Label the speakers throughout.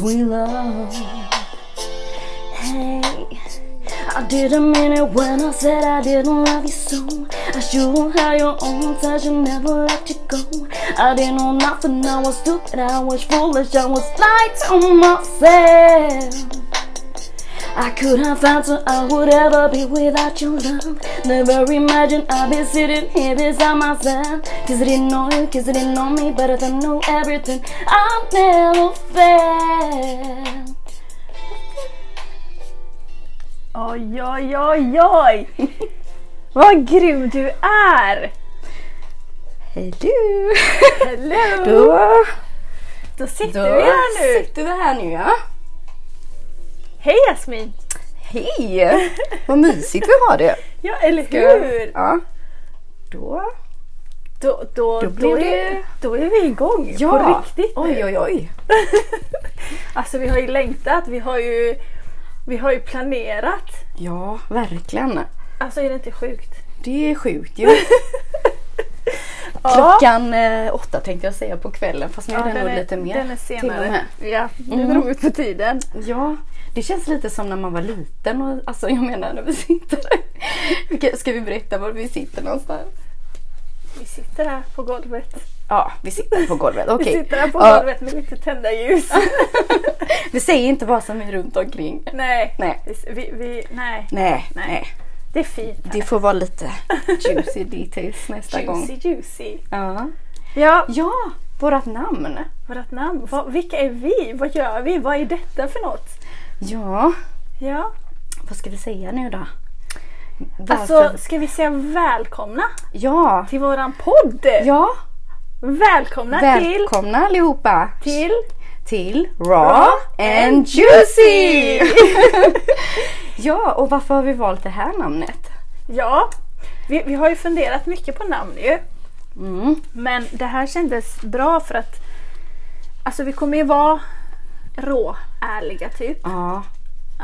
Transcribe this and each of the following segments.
Speaker 1: we love. Hey, I didn't mean it when I said I didn't love you so. I shouldn't have your own touch and never let you go. I didn't know nothing, I was stupid, I was foolish, I was light to myself. I could have found so I would ever be without your love. Never imagined I'd be sitting here beside myself. Cause I didn't know you, cause I didn't know me, but I don't know everything I've never felt.
Speaker 2: Oj, oj, oj, oj! Vad grym du är!
Speaker 1: Hello!
Speaker 2: Hello! Då,
Speaker 1: Då,
Speaker 2: sitter
Speaker 1: då
Speaker 2: vi här nu.
Speaker 1: sitter vi här nu ja.
Speaker 2: Hej Jasmin!
Speaker 1: Hej! Vad mysigt vi har det.
Speaker 2: Ja, eller hur?
Speaker 1: Ja. Då.
Speaker 2: Då, då, då,
Speaker 1: Då blir
Speaker 2: är,
Speaker 1: det-
Speaker 2: då är vi igång på riktigt nu.
Speaker 1: Oj, oj, oj.
Speaker 2: Alltså vi har ju längtat, vi har ju, vi har ju planerat.
Speaker 1: Ja, verkligen.
Speaker 2: Alltså är det inte sjukt?
Speaker 1: Det är sjukt ju. Klockan eh, åtta tänkte jag säga på kvällen fast nu är den, nog lite mer.
Speaker 2: Den är
Speaker 1: till och
Speaker 2: senare.
Speaker 1: med.
Speaker 2: Ja, det
Speaker 1: Mm.
Speaker 2: drog ut på tiden.
Speaker 1: Ja, det känns lite som när man var liten. Och, alltså jag menar när vi sitter Okej, Ska vi berätta var vi sitter någonstans?
Speaker 2: Vi sitter här på golvet.
Speaker 1: Ja, vi sitter på golvet. Okej.
Speaker 2: Vi sitter här på
Speaker 1: Ja.
Speaker 2: golvet med lite tända ljus.
Speaker 1: Vi säger inte vad som är runt omkring.
Speaker 2: nej.
Speaker 1: Nej.
Speaker 2: Vi, vi, vi, nej,
Speaker 1: Nej,
Speaker 2: Nej.
Speaker 1: nej.
Speaker 2: det är fint.
Speaker 1: Det får vara lite juicy details nästa gång.
Speaker 2: Juicy, juicy.
Speaker 1: Ja.
Speaker 2: Ja,
Speaker 1: ja, vårat namn.
Speaker 2: vårt namn. Vad- vilka är vi? Vad gör vi? Vad är detta för något?
Speaker 1: Ja,
Speaker 2: Ja,
Speaker 1: vad ska vi säga nu då?
Speaker 2: alltså
Speaker 1: Varför-
Speaker 2: ska vi säga välkomna
Speaker 1: ja,
Speaker 2: till våran podd?
Speaker 1: ja.
Speaker 2: Välkomna till...
Speaker 1: Välkomna allihopa
Speaker 2: Till...
Speaker 1: till Raw and Juicy! ja, och varför har vi valt det här namnet?
Speaker 2: Ja, vi, vi har ju funderat mycket på namn ju.
Speaker 1: Mm.
Speaker 2: Men det här kändes bra för att alltså vi kommer ju vara rå, ärliga typ.
Speaker 1: Ja,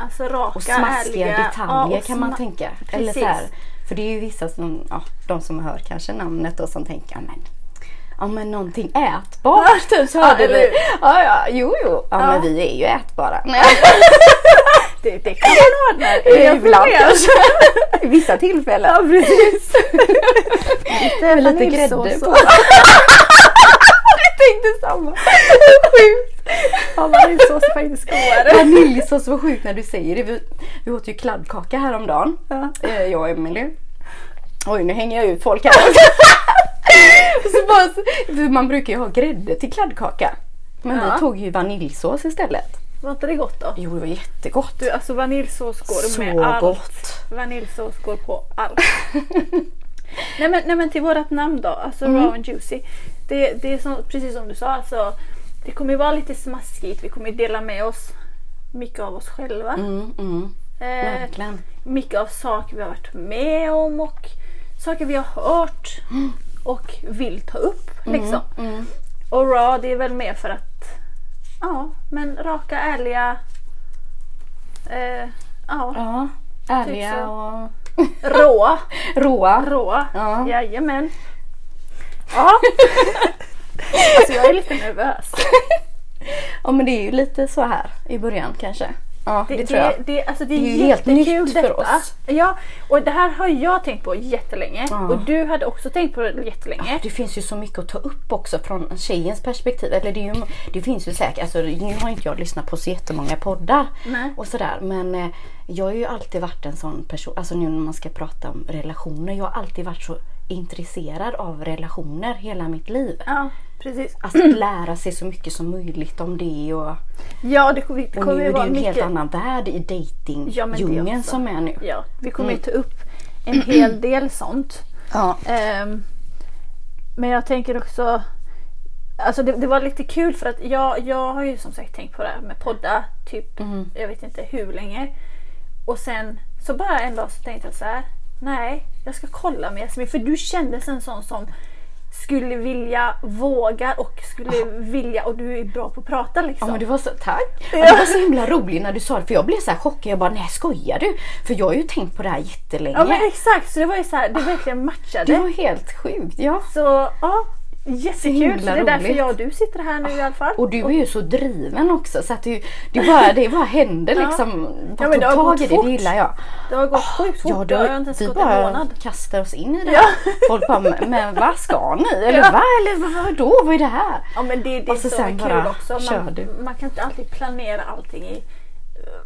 Speaker 2: Alltså raka,
Speaker 1: och smaskiga
Speaker 2: ärliga.
Speaker 1: detaljer
Speaker 2: och
Speaker 1: kan man
Speaker 2: sma-
Speaker 1: tänka. Eller så
Speaker 2: Precis.
Speaker 1: här, för det är ju vissa som, ja, de som hör kanske namnet och som tänker, ja men, ja, men någonting ätbart typ, så
Speaker 2: Ja,
Speaker 1: hörde
Speaker 2: eller
Speaker 1: vi.
Speaker 2: hur?
Speaker 1: Ja, ja, jo, jo. Ja, men vi är ju ätbara. Nej,
Speaker 2: Det, det kan man ordna. Inga
Speaker 1: ibland
Speaker 2: problem.
Speaker 1: kanske. I vissa tillfällen.
Speaker 2: Ja, precis.
Speaker 1: Det är lite
Speaker 2: Vaniljsås
Speaker 1: grädde
Speaker 2: och-
Speaker 1: på. Jag tänkte samma. Sjukt.
Speaker 2: Ja, vaniljsås är faktiskt godare.
Speaker 1: Vaniljsås var sjukt när du säger det. Vi, vi åt ju kladdkaka häromdagen.
Speaker 2: Ja.
Speaker 1: Eh, Jag och Emelie. Oj nu hänger jag ut folk här. Och så bara, för man brukar ju ha grädde till kladdkaka. Men
Speaker 2: Ja.
Speaker 1: vi tog ju vaniljsås istället.
Speaker 2: Var inte det gott då?
Speaker 1: Jo det var jättegott.
Speaker 2: Du, alltså vaniljsås går
Speaker 1: Så
Speaker 2: med allt.
Speaker 1: gott.
Speaker 2: Vaniljsås går på allt. nej, men, nej men till vårat namn då, alltså
Speaker 1: Mm.
Speaker 2: Raw and Juicy. Det, det är som, precis som du sa, alltså, det kommer ju vara lite smaskigt. Vi kommer ju dela med oss mycket av oss själva.
Speaker 1: Mm, mm,
Speaker 2: Eh,
Speaker 1: verkligen.
Speaker 2: mycket av saker vi har varit med om och saker vi har hört och vill ta upp. Liksom.
Speaker 1: Mm.
Speaker 2: Och raw det är väl mer för att ja, men raka, ärliga eh, ja,
Speaker 1: Ja,
Speaker 2: Typ
Speaker 1: ärliga
Speaker 2: så.
Speaker 1: och
Speaker 2: råa.
Speaker 1: råa.
Speaker 2: Råa.
Speaker 1: Ja.
Speaker 2: Jajamän. Ja. alltså jag är lite nervös.
Speaker 1: Ja men det är ju lite så här i början kanske. Ja det, tror jag.
Speaker 2: Det, det, alltså det,
Speaker 1: Det
Speaker 2: är ju helt nytt detta. för oss. Ja, och det här har jag tänkt på jättelänge.
Speaker 1: Ja.
Speaker 2: Och du hade också tänkt på det jättelänge.
Speaker 1: Det finns ju så mycket att ta upp också från tjejens perspektiv. Eller det, är ju, det finns ju säkert, alltså, nu har inte jag lyssnat på så jättemånga poddar
Speaker 2: Nej.
Speaker 1: och sådär. Men eh, jag har ju alltid varit en sån person, alltså nu när man ska prata om relationer. Jag har alltid varit så intresserad av relationer hela mitt liv.
Speaker 2: Ja, precis.
Speaker 1: Alltså att lära sig så mycket som möjligt om det och,
Speaker 2: Ja, det kommer, det
Speaker 1: och
Speaker 2: kommer
Speaker 1: nu
Speaker 2: ju
Speaker 1: är det
Speaker 2: vara
Speaker 1: ju en
Speaker 2: mycket.
Speaker 1: helt annan värld i dating
Speaker 2: Ja, men det
Speaker 1: djungeln
Speaker 2: också.
Speaker 1: som är nu.
Speaker 2: Ja, vi kommer
Speaker 1: Mm.
Speaker 2: ju ta upp en hel del sånt.
Speaker 1: Ja.
Speaker 2: Ehm, men jag tänker också Alltså det, det var lite kul för att jag, jag har ju som sagt tänkt på det här med podda typ jag vet inte hur länge. Och sen så bara en dag så tänkte jag så här. Nej, jag ska kolla med Jasmin för du kändes en sån som skulle vilja, vågar och skulle vilja och du är bra på att prata
Speaker 1: Ja
Speaker 2: liksom.
Speaker 1: men det var så, tack! Ja. Det var så himla roligt när du sa det för jag blev så här chockad. Jag bara, nej skojar du? För jag har ju tänkt på det här jättelänge.
Speaker 2: ja men exakt, så det var ju så här, det verkligen matchade.
Speaker 1: det var helt sjukt. Ja.
Speaker 2: Så ja, Jättekul! Så det
Speaker 1: himla
Speaker 2: är därför
Speaker 1: roligt.
Speaker 2: jag och du sitter här nu i alla fall.
Speaker 1: Och du är ju så driven också så att det, det, bara, det bara hände
Speaker 2: Ja.
Speaker 1: liksom.
Speaker 2: Ja,
Speaker 1: Bara
Speaker 2: men det har
Speaker 1: tog tag
Speaker 2: gått
Speaker 1: i det,
Speaker 2: fort.
Speaker 1: det gillar jag.
Speaker 2: Det har gått sjukt fort.
Speaker 1: Ah, Ja,
Speaker 2: det
Speaker 1: då,
Speaker 2: har jag inte ens
Speaker 1: vi
Speaker 2: gått en
Speaker 1: bara
Speaker 2: månad.
Speaker 1: kastar oss in i det.
Speaker 2: Ja.
Speaker 1: Folk bara, men men vad ska ni? Eller
Speaker 2: Ja.
Speaker 1: va? Eller vad- vadå? Vad är det här?
Speaker 2: Ja men det, det är
Speaker 1: Och så
Speaker 2: så
Speaker 1: Alltså, sen
Speaker 2: kul
Speaker 1: bara
Speaker 2: också.
Speaker 1: kör
Speaker 2: Man,
Speaker 1: du.
Speaker 2: man kan inte alltid planera allting i...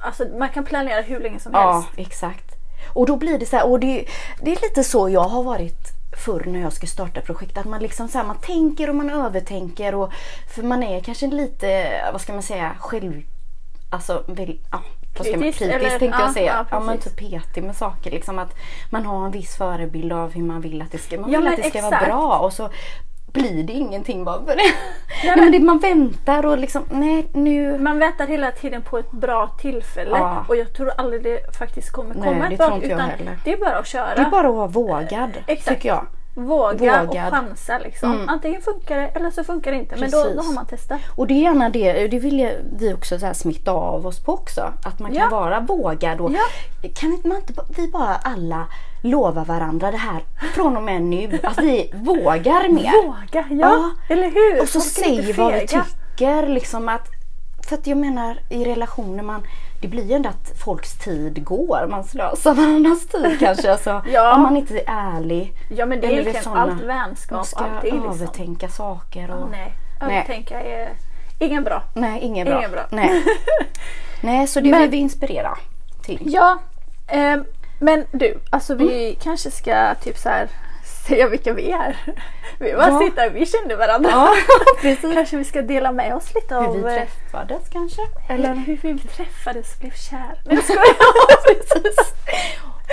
Speaker 2: Alltså man kan planera hur länge som
Speaker 1: Ja,
Speaker 2: helst.
Speaker 1: exakt. Och då blir det så här, och det, det är lite så jag har varit förr när jag ska starta projekt. Att man liksom så här, man tänker och man övertänker. Och, för man är kanske lite, vad ska man säga, själv... Alltså, väl, ja, vad ska man,
Speaker 2: Kritisk,
Speaker 1: kritisk
Speaker 2: eller-
Speaker 1: tänkte
Speaker 2: ja,
Speaker 1: jag säga.
Speaker 2: ja,
Speaker 1: Ja, men
Speaker 2: precis.
Speaker 1: typ petig med saker. Liksom att man har en viss förebild av hur man vill att det ska, man
Speaker 2: Ja,
Speaker 1: vill
Speaker 2: men
Speaker 1: att det ska vara
Speaker 2: exakt.
Speaker 1: bra. Och så blir det ingenting bara för det. Nej, men det, man väntar och liksom, nej nu...
Speaker 2: Man väntar hela tiden på ett bra tillfälle
Speaker 1: Ja.
Speaker 2: och jag tror aldrig det faktiskt kommer
Speaker 1: Nej,
Speaker 2: komma
Speaker 1: det
Speaker 2: ett bra
Speaker 1: tror inte jag
Speaker 2: utan
Speaker 1: heller.
Speaker 2: Det är bara att köra.
Speaker 1: Det är bara att vara vågad,
Speaker 2: Exakt.
Speaker 1: tycker jag.
Speaker 2: Våga
Speaker 1: vågad.
Speaker 2: och chansa liksom. Antingen funkar det eller så funkar det inte. Men då,
Speaker 1: Mm. Precis.
Speaker 2: då har man testat.
Speaker 1: Och det är gärna det, det vill ju vi också så här smitta av oss på också. Att man kan
Speaker 2: Ja.
Speaker 1: vara vågad och kan inte man inte ba- vi bara alla lova varandra det här från och med nu att vi vågar mer.
Speaker 2: Våga, ja.
Speaker 1: Ja.
Speaker 2: Eller hur?
Speaker 1: Och så
Speaker 2: Folk är inte
Speaker 1: säg vad vi
Speaker 2: fega.
Speaker 1: tycker liksom att för att jag menar i relationer man det blir ju ändå att folks tid går. Man slösar varandras tid kanske. Alltså,
Speaker 2: Ja.
Speaker 1: Om man inte är ärlig.
Speaker 2: Ja men det är
Speaker 1: Eller
Speaker 2: egentligen
Speaker 1: såna-
Speaker 2: allt
Speaker 1: Man
Speaker 2: vänskap
Speaker 1: ska
Speaker 2: och allting liksom.
Speaker 1: övertänka saker. Och...
Speaker 2: Nej,
Speaker 1: Nej.
Speaker 2: övertänka är ingen bra.
Speaker 1: Nej, ingen bra.
Speaker 2: Ingen bra.
Speaker 1: Nej. Nej, så det
Speaker 2: Men-
Speaker 1: vill vi inspirera till.
Speaker 2: Ja, ehm, men du, alltså vi
Speaker 1: Mm.
Speaker 2: kanske ska typ så här säga vilka vi är. Vi bara
Speaker 1: Ja.
Speaker 2: sitter här, vi känner varandra.
Speaker 1: Ja, precis.
Speaker 2: Kanske vi ska dela med oss lite
Speaker 1: Hur
Speaker 2: av
Speaker 1: vi
Speaker 2: eh,
Speaker 1: träffades kanske?
Speaker 2: eller
Speaker 1: Eller
Speaker 2: hur vi träffades och blev kär. Nej jag skojar. Precis.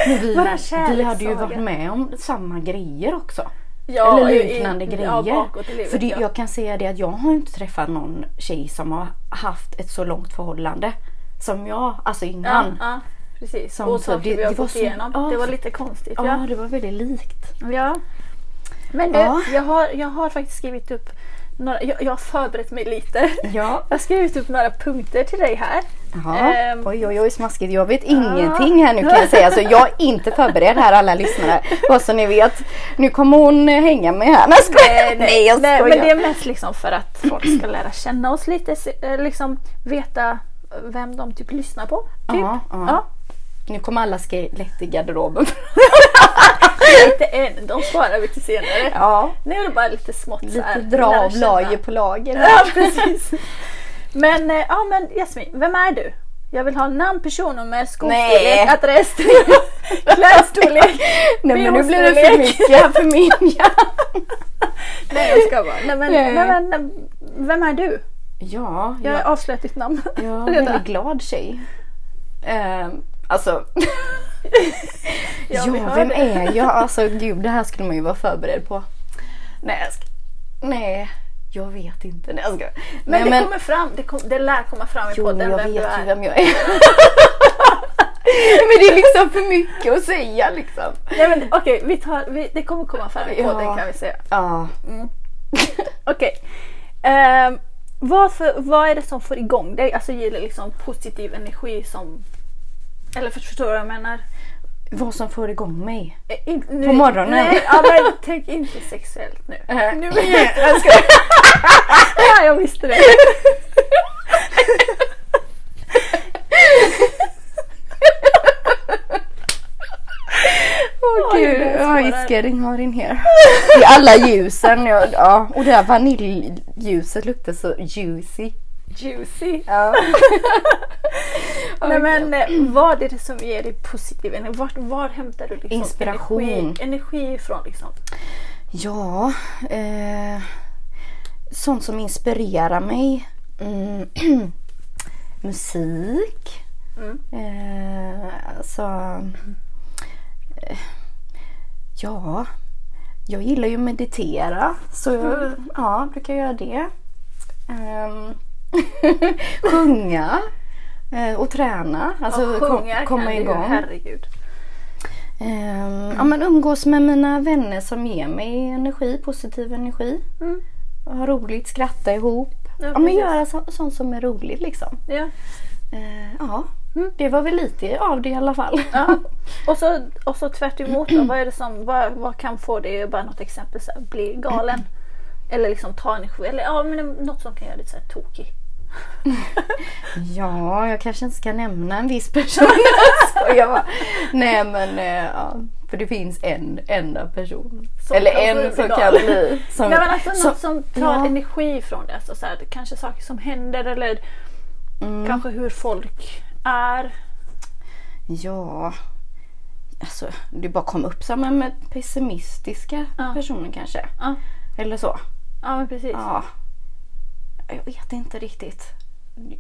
Speaker 1: Men vi,
Speaker 2: Våra
Speaker 1: vi hade ju
Speaker 2: kärlekssaga.
Speaker 1: varit med om samma grejer också.
Speaker 2: Ja,
Speaker 1: eller
Speaker 2: i-
Speaker 1: liknande
Speaker 2: i-
Speaker 1: grejer.
Speaker 2: Ja, bakåt i livet,
Speaker 1: För det,
Speaker 2: ja.
Speaker 1: jag kan säga det att jag har ju inte träffat någon tjej som har haft ett så långt förhållande som jag, alltså
Speaker 2: ja,
Speaker 1: innan.
Speaker 2: ja, precis.
Speaker 1: Som
Speaker 2: och
Speaker 1: så-
Speaker 2: saker
Speaker 1: det-
Speaker 2: vi har
Speaker 1: det var
Speaker 2: gått
Speaker 1: så-
Speaker 2: igenom.
Speaker 1: ja.
Speaker 2: Det var lite konstigt.
Speaker 1: Ja,
Speaker 2: Ja.
Speaker 1: det var väldigt likt.
Speaker 2: ja. Men du,
Speaker 1: Ja.
Speaker 2: jag, har, jag har faktiskt skrivit upp några, jag, jag har förberett mig lite.
Speaker 1: Ja.
Speaker 2: Jag har skrivit upp några punkter till dig här.
Speaker 1: Ja,
Speaker 2: Ehm.
Speaker 1: oj oj oj smaskigt. Jag vet ingenting här nu kan jag säga. Så jag är inte förberedd här alla lyssnare. Bara så ni vet. Nu kommer hon eh, hänga med här. Nej, jag skojar. nej jag
Speaker 2: Nej,
Speaker 1: skojar.
Speaker 2: Eh, men det är mest liksom för att folk ska lära känna oss lite, se- eh, liksom veta vem de typ lyssnar på. Typ.
Speaker 1: Ja, ja.
Speaker 2: Ja,
Speaker 1: Nu kommer alla skelett i garderoben.
Speaker 2: inte än, eh, de sparar vi till senare.
Speaker 1: Ja.
Speaker 2: Nu är det bara lite smått så här,
Speaker 1: Lite dra
Speaker 2: lära
Speaker 1: av
Speaker 2: känna.
Speaker 1: lager på lager.
Speaker 2: Ja, precis. Men, eh, ja, men Jasmin, vem är du? Jag vill ha namn, personnummer,
Speaker 1: Nej.
Speaker 2: skolstorlek, adress, klasstorlek.
Speaker 1: Nej men nu blir det
Speaker 2: bhstorlek.
Speaker 1: för mycket för min hjärna.
Speaker 2: Nej jag ska bara. Nej, men,
Speaker 1: Nej.
Speaker 2: nej. men, vem är du?
Speaker 1: Ja,
Speaker 2: Jag har
Speaker 1: jag,
Speaker 2: avslöjat ditt namn.
Speaker 1: jag är en
Speaker 2: redan.
Speaker 1: väldigt glad tjej. Ehm, alltså, ja,
Speaker 2: vi hör
Speaker 1: vem
Speaker 2: det.
Speaker 1: är jag? Alltså gud, det här skulle man ju vara förberedd på. Nej, jag ska... Nej, jag vet inte. Nej, jag ska...
Speaker 2: Men
Speaker 1: Nej,
Speaker 2: det kommer fram, det, kom, det lär komma fram i
Speaker 1: Jo,
Speaker 2: podden
Speaker 1: jag
Speaker 2: vem
Speaker 1: vet
Speaker 2: du
Speaker 1: ju
Speaker 2: är.
Speaker 1: vem jag är. men det är liksom för mycket att säga liksom.
Speaker 2: Nej men okej, vi tar, vi, det kommer komma fram i
Speaker 1: Ja.
Speaker 2: podden kan vi säga.
Speaker 1: Ja,
Speaker 2: Okej. Ehm, vad, för, vad är det som får igång dig? Alltså ger det liksom positiv energi som... Eller för- förstår du vad jag menar?
Speaker 1: vad som får igång mig.
Speaker 2: Eh, in- nu-
Speaker 1: På morgonen. Eh,
Speaker 2: Nej, ja, men tänk inte sexuellt nu.
Speaker 1: Nej.
Speaker 2: nu ja, jag visste det.
Speaker 1: Åh
Speaker 2: Oj,
Speaker 1: gud,
Speaker 2: det är
Speaker 1: oh,
Speaker 2: svårare.
Speaker 1: it's getting hot in here. Det är alla ljusen ja, ja. och det här vaniljljuset luktar så juicy.
Speaker 2: Juicy.
Speaker 1: Ja.
Speaker 2: Nej, men eh, vad är det som ger dig positiv energi? Vart, var hämtar du liksom
Speaker 1: Inspiration.
Speaker 2: energi, energi ifrån? Liksom?
Speaker 1: Ja, eh, sånt som inspirerar mig. Mm. Musik.
Speaker 2: Mm.
Speaker 1: Eh, alltså, eh, ja, jag gillar ju att meditera så
Speaker 2: Mm.
Speaker 1: ja, brukar jag göra det. Ehm, sjunga eh, och träna. Alltså
Speaker 2: Ja, sjunga
Speaker 1: kom, komma
Speaker 2: kan du,
Speaker 1: igång.
Speaker 2: herregud.
Speaker 1: Ehm, ja, men umgås med mina vänner som ger mig energi, positiv energi.
Speaker 2: Mm.
Speaker 1: Ha roligt, skratta ihop.
Speaker 2: Ja,
Speaker 1: Ja, men
Speaker 2: precis.
Speaker 1: göra så, sånt som är roligt liksom.
Speaker 2: Ja.
Speaker 1: Eh, ja, det var väl lite av det i alla fall.
Speaker 2: Mm. Ja. Och, så, och så tvärt emot då, vad, är det som, vad, vad kan få dig att bara något exempel så här, bli galen? Eller liksom ta energi. Eller ja, men något som kan göra lite så här tokig.
Speaker 1: Ja, jag kanske inte ska nämna en viss person. Så jag bara, nej men eh, ja. För det finns en enda person.
Speaker 2: Som
Speaker 1: Eller
Speaker 2: kan bli
Speaker 1: en som
Speaker 2: glad.
Speaker 1: kan bli. Som,
Speaker 2: Nej, men alltså
Speaker 1: som-
Speaker 2: något som tar
Speaker 1: ja.
Speaker 2: energi ifrån det. Alltså, så här, kanske saker som händer eller
Speaker 1: Mm.
Speaker 2: kanske hur folk är.
Speaker 1: Ja. Alltså, det bara kom upp som en med pessimistiska
Speaker 2: Ja.
Speaker 1: personer kanske.
Speaker 2: Ja,
Speaker 1: Eller så.
Speaker 2: ja men precis.
Speaker 1: Ja. Jag vet inte riktigt.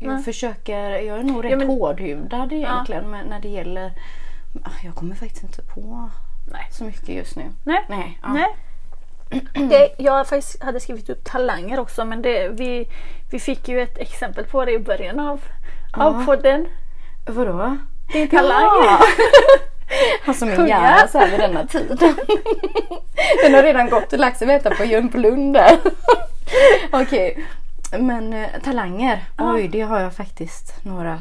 Speaker 1: Jag
Speaker 2: Nej.
Speaker 1: försöker, jag är nog rätt
Speaker 2: men-
Speaker 1: hårdhudad egentligen men när det gäller Ah, jag kommer faktiskt inte på
Speaker 2: Nej.
Speaker 1: så mycket just nu.
Speaker 2: Nej.
Speaker 1: Nej. ja.
Speaker 2: Nej. Det, jag faktiskt hade skrivit upp talanger också men det, vi, vi fick ju ett exempel på det i början av, av podden.
Speaker 1: Vadå?
Speaker 2: Din talang.
Speaker 1: Ja. Alltså min
Speaker 2: Sjunga.
Speaker 1: hjärna så här vid denna tiden. Den har redan gått och lagt sig och väntat på Jumplund där. Okej. Men eh, talanger. Oj, det har jag faktiskt några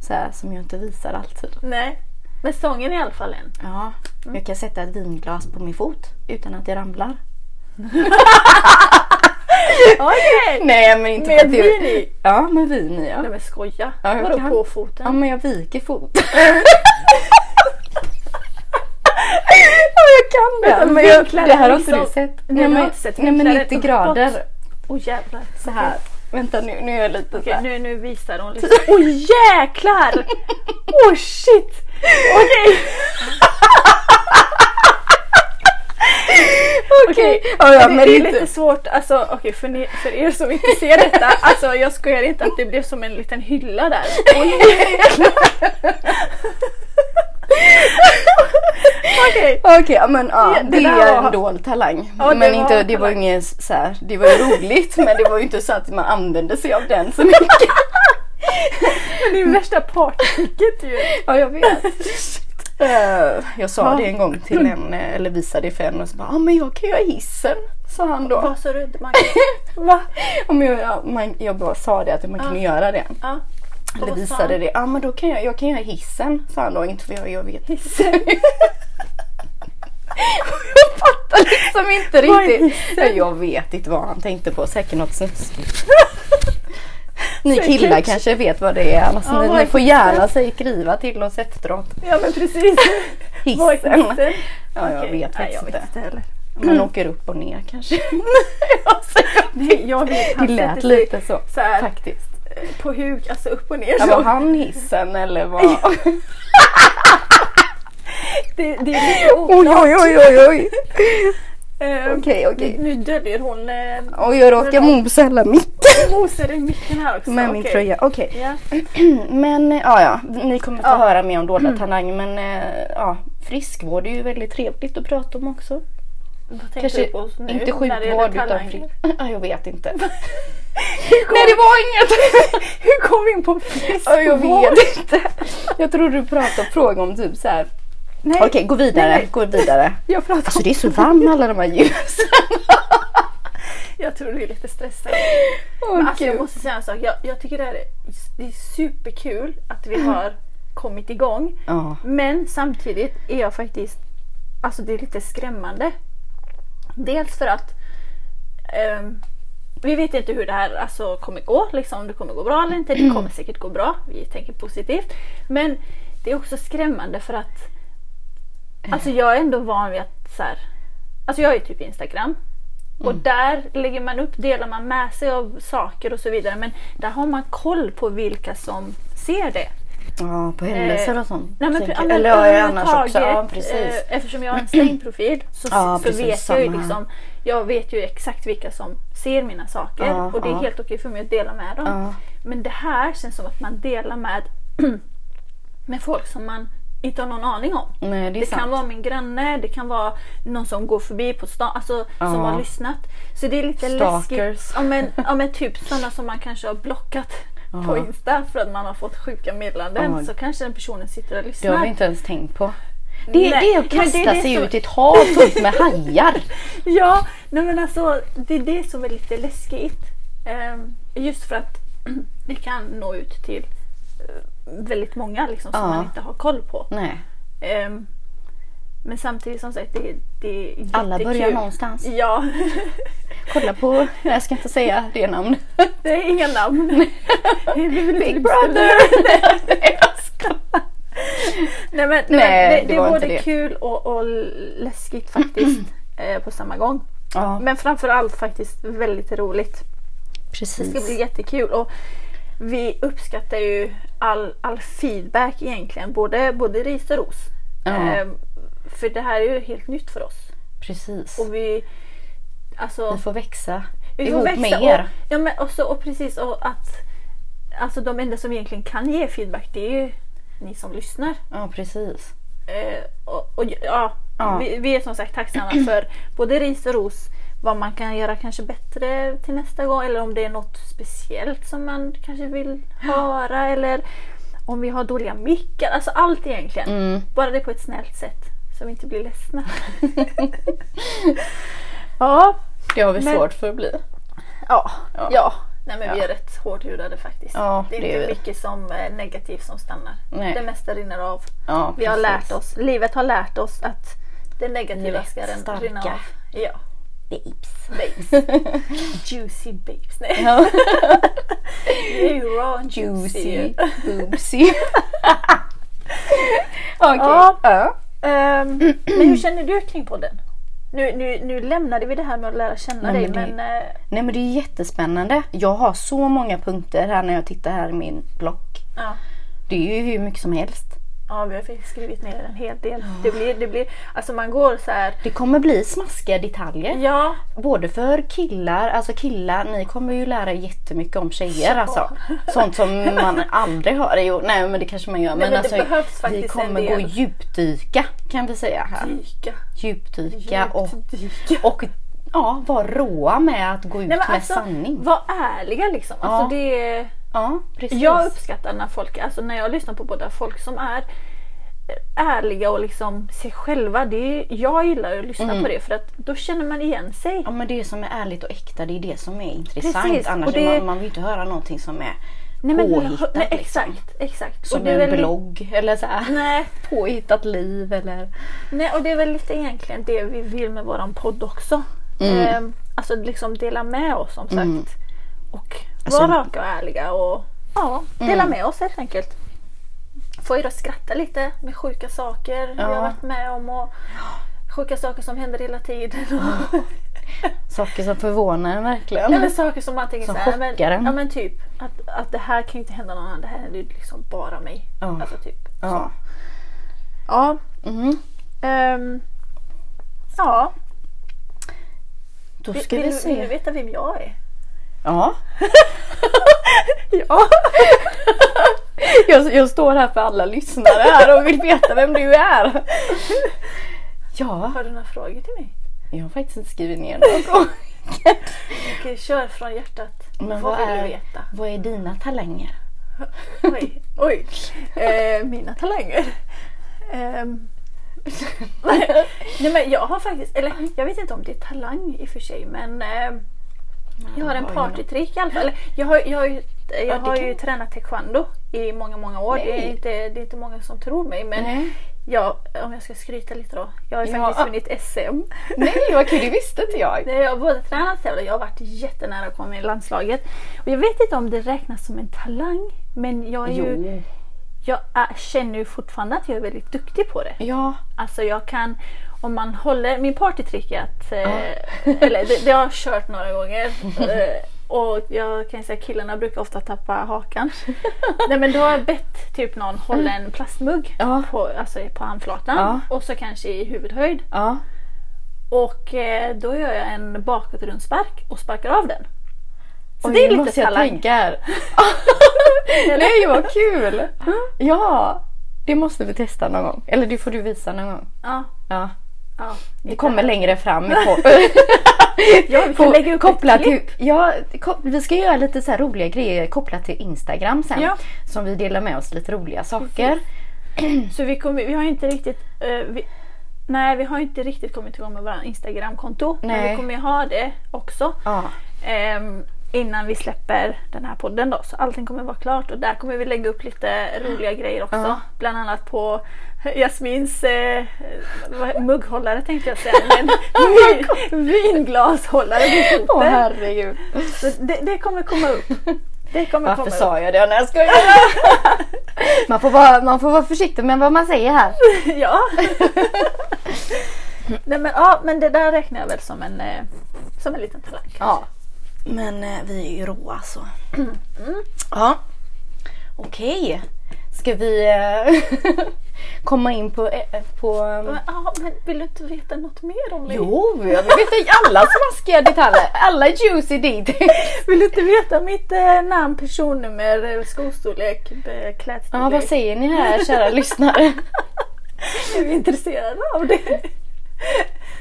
Speaker 1: så här, som jag inte visar alltid.
Speaker 2: Nej. Men sången i alla fall en.
Speaker 1: Ja, Mm. jag kan sätta ett vinglas på min fot utan att det ramlar.
Speaker 2: Okej!
Speaker 1: Nej, men inte
Speaker 2: Med
Speaker 1: för att det-
Speaker 2: vin i?
Speaker 1: Ja, med vin i ja.
Speaker 2: Nej men skoja.
Speaker 1: Ja, jag
Speaker 2: Vadå
Speaker 1: kan.
Speaker 2: på foten?
Speaker 1: Ja, men jag viker foten. ja, jag kan det.
Speaker 2: Vänta,
Speaker 1: men jag,
Speaker 2: vinklar
Speaker 1: det här
Speaker 2: den
Speaker 1: har inte du
Speaker 2: liksom-
Speaker 1: sett.
Speaker 2: Nej, det har
Speaker 1: men,
Speaker 2: jag inte sett.
Speaker 1: nej, men
Speaker 2: Vinklar
Speaker 1: 90
Speaker 2: den
Speaker 1: grader.
Speaker 2: uppåt? Åh jävlar.
Speaker 1: Så här. Vänta nu, nu är jag lite så
Speaker 2: Okej,
Speaker 1: här.
Speaker 2: nu, nu visar hon liksom. Åh jäklar! Åh shit! Okej!
Speaker 1: Okej,
Speaker 2: Okej,
Speaker 1: ja, ja,
Speaker 2: det,
Speaker 1: men
Speaker 2: det är
Speaker 1: inte-
Speaker 2: lite svårt, alltså okej för, ni- för er som inte ser detta, alltså jag skojar inte att det blev som en liten hylla där. Oj, jäklar. Okej,
Speaker 1: Okej, ja, men ja,
Speaker 2: Ja,
Speaker 1: det,
Speaker 2: det
Speaker 1: är
Speaker 2: där
Speaker 1: en
Speaker 2: var-
Speaker 1: dold talang.
Speaker 2: Ja, det
Speaker 1: men
Speaker 2: var
Speaker 1: inte,
Speaker 2: en
Speaker 1: det var ju
Speaker 2: talang.
Speaker 1: ingen så här, det var ju roligt men det var ju inte så att man använde sig av den så mycket.
Speaker 2: det är ju värsta partytricket ju.
Speaker 1: Ja, jag vet. Eh, jag sa
Speaker 2: Ja.
Speaker 1: det en gång till en, eh, eller visade det för en och så bara, ja ah, men jag kan göra hissen, sa han då.
Speaker 2: Vad sa du? Magnus? Va?
Speaker 1: Ja, men jag, ja, man, jag bara sa det att man kunde göra det.
Speaker 2: Ja.
Speaker 1: Eller
Speaker 2: vad Ah. sa
Speaker 1: visade
Speaker 2: han?
Speaker 1: det. Ja men då kan jag, jag kan göra hissen, sa han då. Inte för jag, jag vet hissen. jag fattar liksom inte
Speaker 2: Vad är
Speaker 1: riktigt.
Speaker 2: hissen?
Speaker 1: Ja, Jag vet inte vad han tänkte på. Säkert något snuskigt. Ni
Speaker 2: Säkert.
Speaker 1: killar kanske vet vad det är. Alltså,
Speaker 2: Ja,
Speaker 1: ni,
Speaker 2: vad
Speaker 1: ni
Speaker 2: är
Speaker 1: får
Speaker 2: hissen?
Speaker 1: gärna sig skriva till oss efteråt.
Speaker 2: Ja men precis. Vad är
Speaker 1: Hissen.
Speaker 2: hissen?
Speaker 1: Ja, jag
Speaker 2: Okej,
Speaker 1: vet
Speaker 2: nej,
Speaker 1: faktiskt
Speaker 2: jag vet
Speaker 1: inte.
Speaker 2: inte heller.
Speaker 1: Man åker upp och ner kanske. Alltså,
Speaker 2: Nej, jag vet.
Speaker 1: det
Speaker 2: Han
Speaker 1: lät
Speaker 2: sätter sig
Speaker 1: lite så.
Speaker 2: så här,
Speaker 1: Faktiskt.
Speaker 2: på huk, alltså upp och ner.
Speaker 1: Ja,
Speaker 2: så.
Speaker 1: var han hissen eller vad?
Speaker 2: Det, det är lite o...
Speaker 1: Oj, oj, oj, oj, oj.
Speaker 2: Ehm,
Speaker 1: Okej, okej.
Speaker 2: Nu döljer hon eh,
Speaker 1: Och jag råkar mosa hela micken
Speaker 2: mosar i micken här också.
Speaker 1: med min
Speaker 2: Okej.
Speaker 1: tröja. Okej.
Speaker 2: Ja.
Speaker 1: Men eh, ja, ja, ni kommer få
Speaker 2: Ja. Mm.
Speaker 1: höra mer om dolda talanger. Men eh, ja, friskvård är ju väldigt trevligt att prata om också.
Speaker 2: Vad tänker
Speaker 1: Kanske
Speaker 2: du på nu
Speaker 1: inte
Speaker 2: när det gäller
Speaker 1: sjukvård utan
Speaker 2: talanger?
Speaker 1: frisk... Ja, jag vet inte.
Speaker 2: kom-
Speaker 1: Nej, det var inget!
Speaker 2: Hur kom vi in på friskvård?
Speaker 1: Ja, jag vet inte. Jag tror du pratade och frågade om typ så här.
Speaker 2: Nej,
Speaker 1: Okej, gå vidare.
Speaker 2: Nej.
Speaker 1: Gå vidare.
Speaker 2: jag pratar
Speaker 1: Alltså
Speaker 2: om...
Speaker 1: det är så varmt med alla de här ljusen.
Speaker 2: Jag tror du är lite stressad. Men alltså, jag måste säga en sak. Jag, jag tycker det här är, det är superkul att vi
Speaker 1: Mm.
Speaker 2: har kommit igång.
Speaker 1: Ja.
Speaker 2: Men samtidigt är jag faktiskt, alltså det är lite skrämmande. Dels för att ehm, vi vet inte hur det här alltså, kommer gå, liksom, om det kommer gå bra eller inte. Det kommer säkert gå bra, vi tänker positivt. Men det är också skrämmande för att alltså, jag är ändå van vid att så här, alltså jag är typ Instagram. Och där lägger man upp, delar man med sig av saker och så vidare. Men där har man koll på vilka som ser det.
Speaker 1: ja, på händelser och sånt.
Speaker 2: Nej, men,
Speaker 1: tänker
Speaker 2: pre-
Speaker 1: jag.
Speaker 2: ja, men
Speaker 1: Eller ja, jag annars
Speaker 2: överhuvudtaget,
Speaker 1: också. Ja, precis.
Speaker 2: eh, Eftersom jag har en stängd profil så,
Speaker 1: Ja,
Speaker 2: så
Speaker 1: precis,
Speaker 2: vet jag ju
Speaker 1: samma här.
Speaker 2: liksom, jag vet ju exakt vilka som ser mina saker
Speaker 1: Ja,
Speaker 2: och det är
Speaker 1: ja.
Speaker 2: helt okej för mig att dela med dem.
Speaker 1: Ja.
Speaker 2: Men det här känns som att man delar med, med folk som man inte har någon aning om.
Speaker 1: Nej, det är
Speaker 2: Det
Speaker 1: sant.
Speaker 2: kan vara min granne, det kan vara någon som går förbi på stan, alltså som
Speaker 1: Ja.
Speaker 2: har lyssnat. Så det är lite
Speaker 1: Stalkers.
Speaker 2: läskigt. Ja men, ja men typ sådana som man kanske har blockat på
Speaker 1: Ja.
Speaker 2: Insta för att man har fått sjuka meddelanden.
Speaker 1: Ja.
Speaker 2: Så kanske den personen sitter och
Speaker 1: Det
Speaker 2: lyssnar.
Speaker 1: har vi inte ens tänkt på.
Speaker 2: Nej,
Speaker 1: Det, det är att
Speaker 2: men det är
Speaker 1: kasta
Speaker 2: det
Speaker 1: sig
Speaker 2: som-
Speaker 1: ut i ett hav fullt med hajar.
Speaker 2: Ja, nej men alltså det är det som är lite läskigt. Ehm, just för att det kan nå ut till eh, väldigt många liksom, som
Speaker 1: Ja.
Speaker 2: man inte har koll på.
Speaker 1: Nej.
Speaker 2: Ehm, Men samtidigt som sagt, det, det är
Speaker 1: Alla
Speaker 2: jättekul.
Speaker 1: börjar någonstans.
Speaker 2: Ja,
Speaker 1: Kolla på, jag ska inte säga det namn.
Speaker 2: det är inga namn. Vi vill inte bli
Speaker 1: Big brother! Nej, jag skojar.
Speaker 2: Nej, men, nej,
Speaker 1: Nej,
Speaker 2: men det,
Speaker 1: det
Speaker 2: det,
Speaker 1: var
Speaker 2: är
Speaker 1: inte
Speaker 2: både
Speaker 1: det.
Speaker 2: kul och, och läskigt faktiskt eh, på samma gång.
Speaker 1: Ja,
Speaker 2: Men framförallt faktiskt väldigt roligt. Det ska
Speaker 1: precis.
Speaker 2: bli jättekul. Och vi uppskattar ju all, all feedback egentligen, både, både ris och ros.
Speaker 1: Ja,
Speaker 2: Eh, för det här är ju helt nytt för oss.
Speaker 1: precis.
Speaker 2: Och vi, alltså,
Speaker 1: Vi får växa
Speaker 2: vi får
Speaker 1: ihop
Speaker 2: växa
Speaker 1: med er.
Speaker 2: Och, ja, men också, och precis och att alltså, de enda som egentligen kan ge feedback det är ju ni som lyssnar.
Speaker 1: Ja, precis.
Speaker 2: Eh, och, och, ja,
Speaker 1: Ja.
Speaker 2: Vi, vi är som sagt tacksamma för både ris och ros. Vad man kan göra kanske bättre till nästa gång eller om det är något speciellt som man kanske vill höra eller om vi har dåliga mickar. Alltså allt egentligen.
Speaker 1: Mm.
Speaker 2: Bara det på ett snällt sätt så vi inte blir ledsna. ja,
Speaker 1: Det har vi
Speaker 2: Men-
Speaker 1: svårt för att bli.
Speaker 2: ja,
Speaker 1: Ja.
Speaker 2: ja. Nej men vi
Speaker 1: Ja.
Speaker 2: är rätt hårdhudade faktiskt.
Speaker 1: Ja,
Speaker 2: det är
Speaker 1: det
Speaker 2: inte
Speaker 1: är vi.
Speaker 2: mycket som eh, negativt som stannar.
Speaker 1: Nej.
Speaker 2: Det mesta rinner av.
Speaker 1: Ja,
Speaker 2: Vi har
Speaker 1: precis.
Speaker 2: lärt oss, livet har lärt oss att det negativa
Speaker 1: Lätt
Speaker 2: ska rinna- rinna
Speaker 1: starka.
Speaker 2: av. Ja,
Speaker 1: Babes.
Speaker 2: babes. Juicy babes. Nej.
Speaker 1: Ja.
Speaker 2: Det är ju raw and
Speaker 1: Juicy. Boobsy. Okej.
Speaker 2: Ja.
Speaker 1: Ja.
Speaker 2: Ehm, men hur känner du kring podden? Nu, nu, nu lämnade vi det här med att lära känna
Speaker 1: Nej,
Speaker 2: dig
Speaker 1: men det-
Speaker 2: men eh,
Speaker 1: Nej men det är jättespännande. Jag har så många punkter här när jag tittar här i min block.
Speaker 2: ja.
Speaker 1: Det är ju hur mycket som helst.
Speaker 2: ja, vi har faktiskt skrivit ner en hel del. Det blir, det blir, alltså man går så här.
Speaker 1: Det kommer bli smaskiga detaljer.
Speaker 2: Ja,
Speaker 1: Både för killar, alltså killar, ni kommer ju lära er jättemycket om tjejer alltså. Sånt som man aldrig hör. Jo, nej men det kanske man gör.
Speaker 2: Nej, men det
Speaker 1: alltså,
Speaker 2: behövs faktiskt
Speaker 1: vi
Speaker 2: en
Speaker 1: kommer
Speaker 2: del.
Speaker 1: gå djupdyka kan vi säga här.
Speaker 2: dyka.
Speaker 1: Djupdyka och,
Speaker 2: dyka.
Speaker 1: och ja, vara råa med att gå ut
Speaker 2: Nej, men
Speaker 1: med
Speaker 2: alltså,
Speaker 1: sanning.
Speaker 2: var ärliga liksom. Alltså, det,
Speaker 1: Ja, precis.
Speaker 2: jag uppskattar när folk, alltså när jag lyssnar på båda folk som är ärliga och liksom sig själva. Det är, jag gillar att lyssna
Speaker 1: Mm.
Speaker 2: på det för att då känner man igen sig.
Speaker 1: Ja men det som är ärligt och äkta det är det som är intressant.
Speaker 2: Precis,
Speaker 1: Annars
Speaker 2: och det-
Speaker 1: man, man vill inte höra någonting som är
Speaker 2: Nej, men,
Speaker 1: påhittat.
Speaker 2: nej,
Speaker 1: liksom.
Speaker 2: exakt, exakt.
Speaker 1: Som
Speaker 2: det är
Speaker 1: en
Speaker 2: väl-
Speaker 1: blogg eller så här.
Speaker 2: Nej,
Speaker 1: Påhittat liv eller...
Speaker 2: nej, och det är väl lite egentligen det vi vill med våran podd också.
Speaker 1: Mm.
Speaker 2: Ehm, alltså liksom dela med oss som sagt. Och
Speaker 1: Alltså- Mm.
Speaker 2: vara raka och ärliga och ja, dela med oss helt enkelt. Få er att skratta lite med sjuka saker vi
Speaker 1: Ja.
Speaker 2: har varit med om och sjuka saker som händer hela tiden. Och,
Speaker 1: Saker som förvånar en verkligen.
Speaker 2: eller saker som man tänker
Speaker 1: Som
Speaker 2: så här, men,
Speaker 1: chockar en.
Speaker 2: ja, men typ att, att det här kan ju inte hända någon annan, det här är ju liksom bara mig.
Speaker 1: Ja.
Speaker 2: Alltså typ.
Speaker 1: Ja.
Speaker 2: Ja.
Speaker 1: Mm.
Speaker 2: ehm, ja.
Speaker 1: Då
Speaker 2: Vill,
Speaker 1: ska vi
Speaker 2: vill,
Speaker 1: se.
Speaker 2: vill du veta vem jag är?
Speaker 1: Ja.
Speaker 2: Ja.
Speaker 1: Jag, jag står här för alla lyssnare här och vill veta vem du är. Ja,
Speaker 2: Har du några frågor till mig?
Speaker 1: jag har faktiskt inte skrivit ner något.
Speaker 2: Okej, kör från hjärtat.
Speaker 1: Men
Speaker 2: vad vill
Speaker 1: vad är-
Speaker 2: du veta?
Speaker 1: Vad är dina talanger?
Speaker 2: Oj, oj. Eh, mina talanger. Ehm, Nej men jag har faktiskt, eller jag vet inte om det är talang i och för sig men ehm, jag har en
Speaker 1: Oj,
Speaker 2: partytrick i alla fall. Eller, Jag har, jag har, ju, jag
Speaker 1: det
Speaker 2: har
Speaker 1: kan-
Speaker 2: ju tränat taekwondo i många många år. Det
Speaker 1: Nej.
Speaker 2: är, inte, det är inte många som tror mig men
Speaker 1: Nej.
Speaker 2: jag, om jag ska skryta lite då. Jag har ju
Speaker 1: Ja.
Speaker 2: faktiskt vunnit SM.
Speaker 1: Nej vad kul, det visste inte jag.
Speaker 2: Nej, jag har både tränat och tävlat. Jag har varit jättenära att komma med i landslaget. Och jag vet inte om det räknas som en talang. Men jag, är ju,
Speaker 1: Jo.
Speaker 2: jag är, känner ju fortfarande att jag är väldigt duktig på det.
Speaker 1: Ja.
Speaker 2: Alltså jag kan, om man håller, min partytrick är att, eh, eller det, det har jag kört några gånger. Eh, och jag kan ju säga att killarna brukar ofta tappa hakan. Nej men då har jag bett typ någon hålla en plastmugg
Speaker 1: Ja.
Speaker 2: på, alltså på handflatan
Speaker 1: Ja.
Speaker 2: och så kanske i huvudhöjd.
Speaker 1: Ja.
Speaker 2: Och eh, då gör jag en bakåtrundspark och sparkar av den. Så
Speaker 1: Oj,
Speaker 2: det är
Speaker 1: nu
Speaker 2: lite
Speaker 1: måste jag
Speaker 2: talang.
Speaker 1: tänka här. Nej vad kul! Ja, det måste vi testa någon gång. Eller det får du visa någon gång.
Speaker 2: Ja,
Speaker 1: Ja.
Speaker 2: ja.
Speaker 1: Det kommer längre fram. i på,
Speaker 2: Ja, vi kan
Speaker 1: på-
Speaker 2: lägga upp
Speaker 1: kopplat
Speaker 2: ett klipp.
Speaker 1: till, ja, ko- Vi ska göra lite så här roliga grejer kopplat till Instagram sen.
Speaker 2: Ja.
Speaker 1: Som vi delar med oss lite roliga saker.
Speaker 2: Så vi, kommer, vi har ju inte riktigt... eh, vi, nej, vi har ju inte riktigt kommit igång med våra Instagramkonto. Men
Speaker 1: Nej.
Speaker 2: vi kommer ju ha det också.
Speaker 1: Ja.
Speaker 2: Ehm, innan vi släpper den här podden då. Så allting kommer vara klart och där kommer vi lägga upp lite roliga grejer också.
Speaker 1: Ja.
Speaker 2: Bland annat på Jasmins eh, vad- mugghållare tänkte jag säga. Men vin, vinglashållare vid
Speaker 1: Åh
Speaker 2: foten.
Speaker 1: herregud.
Speaker 2: Så det, det kommer komma upp. Det kommer
Speaker 1: Varför
Speaker 2: komma upp.
Speaker 1: sa jag det? Nej jag skojar. man, får vara, man får vara försiktig med vad man säger här.
Speaker 2: Ja. Nej, men, ja, men det där räknar jag väl som en, eh, som en liten talang.
Speaker 1: Ja. Men eh, vi är ju råa så. Ja. Mm. Okej. Ska vi eh, komma in på... eh, på eh,
Speaker 2: Men, ja, men vill du inte veta något mer om mig?
Speaker 1: Jo, jag vill veta alla smaskiga detaljer. Alla juicy details.
Speaker 2: Vill du inte veta mitt eh, namn, personnummer, eh, skostorlek, eh, klädstorlek?
Speaker 1: Ja, vad säger ni här kära lyssnare?
Speaker 2: Är du intresserad av det?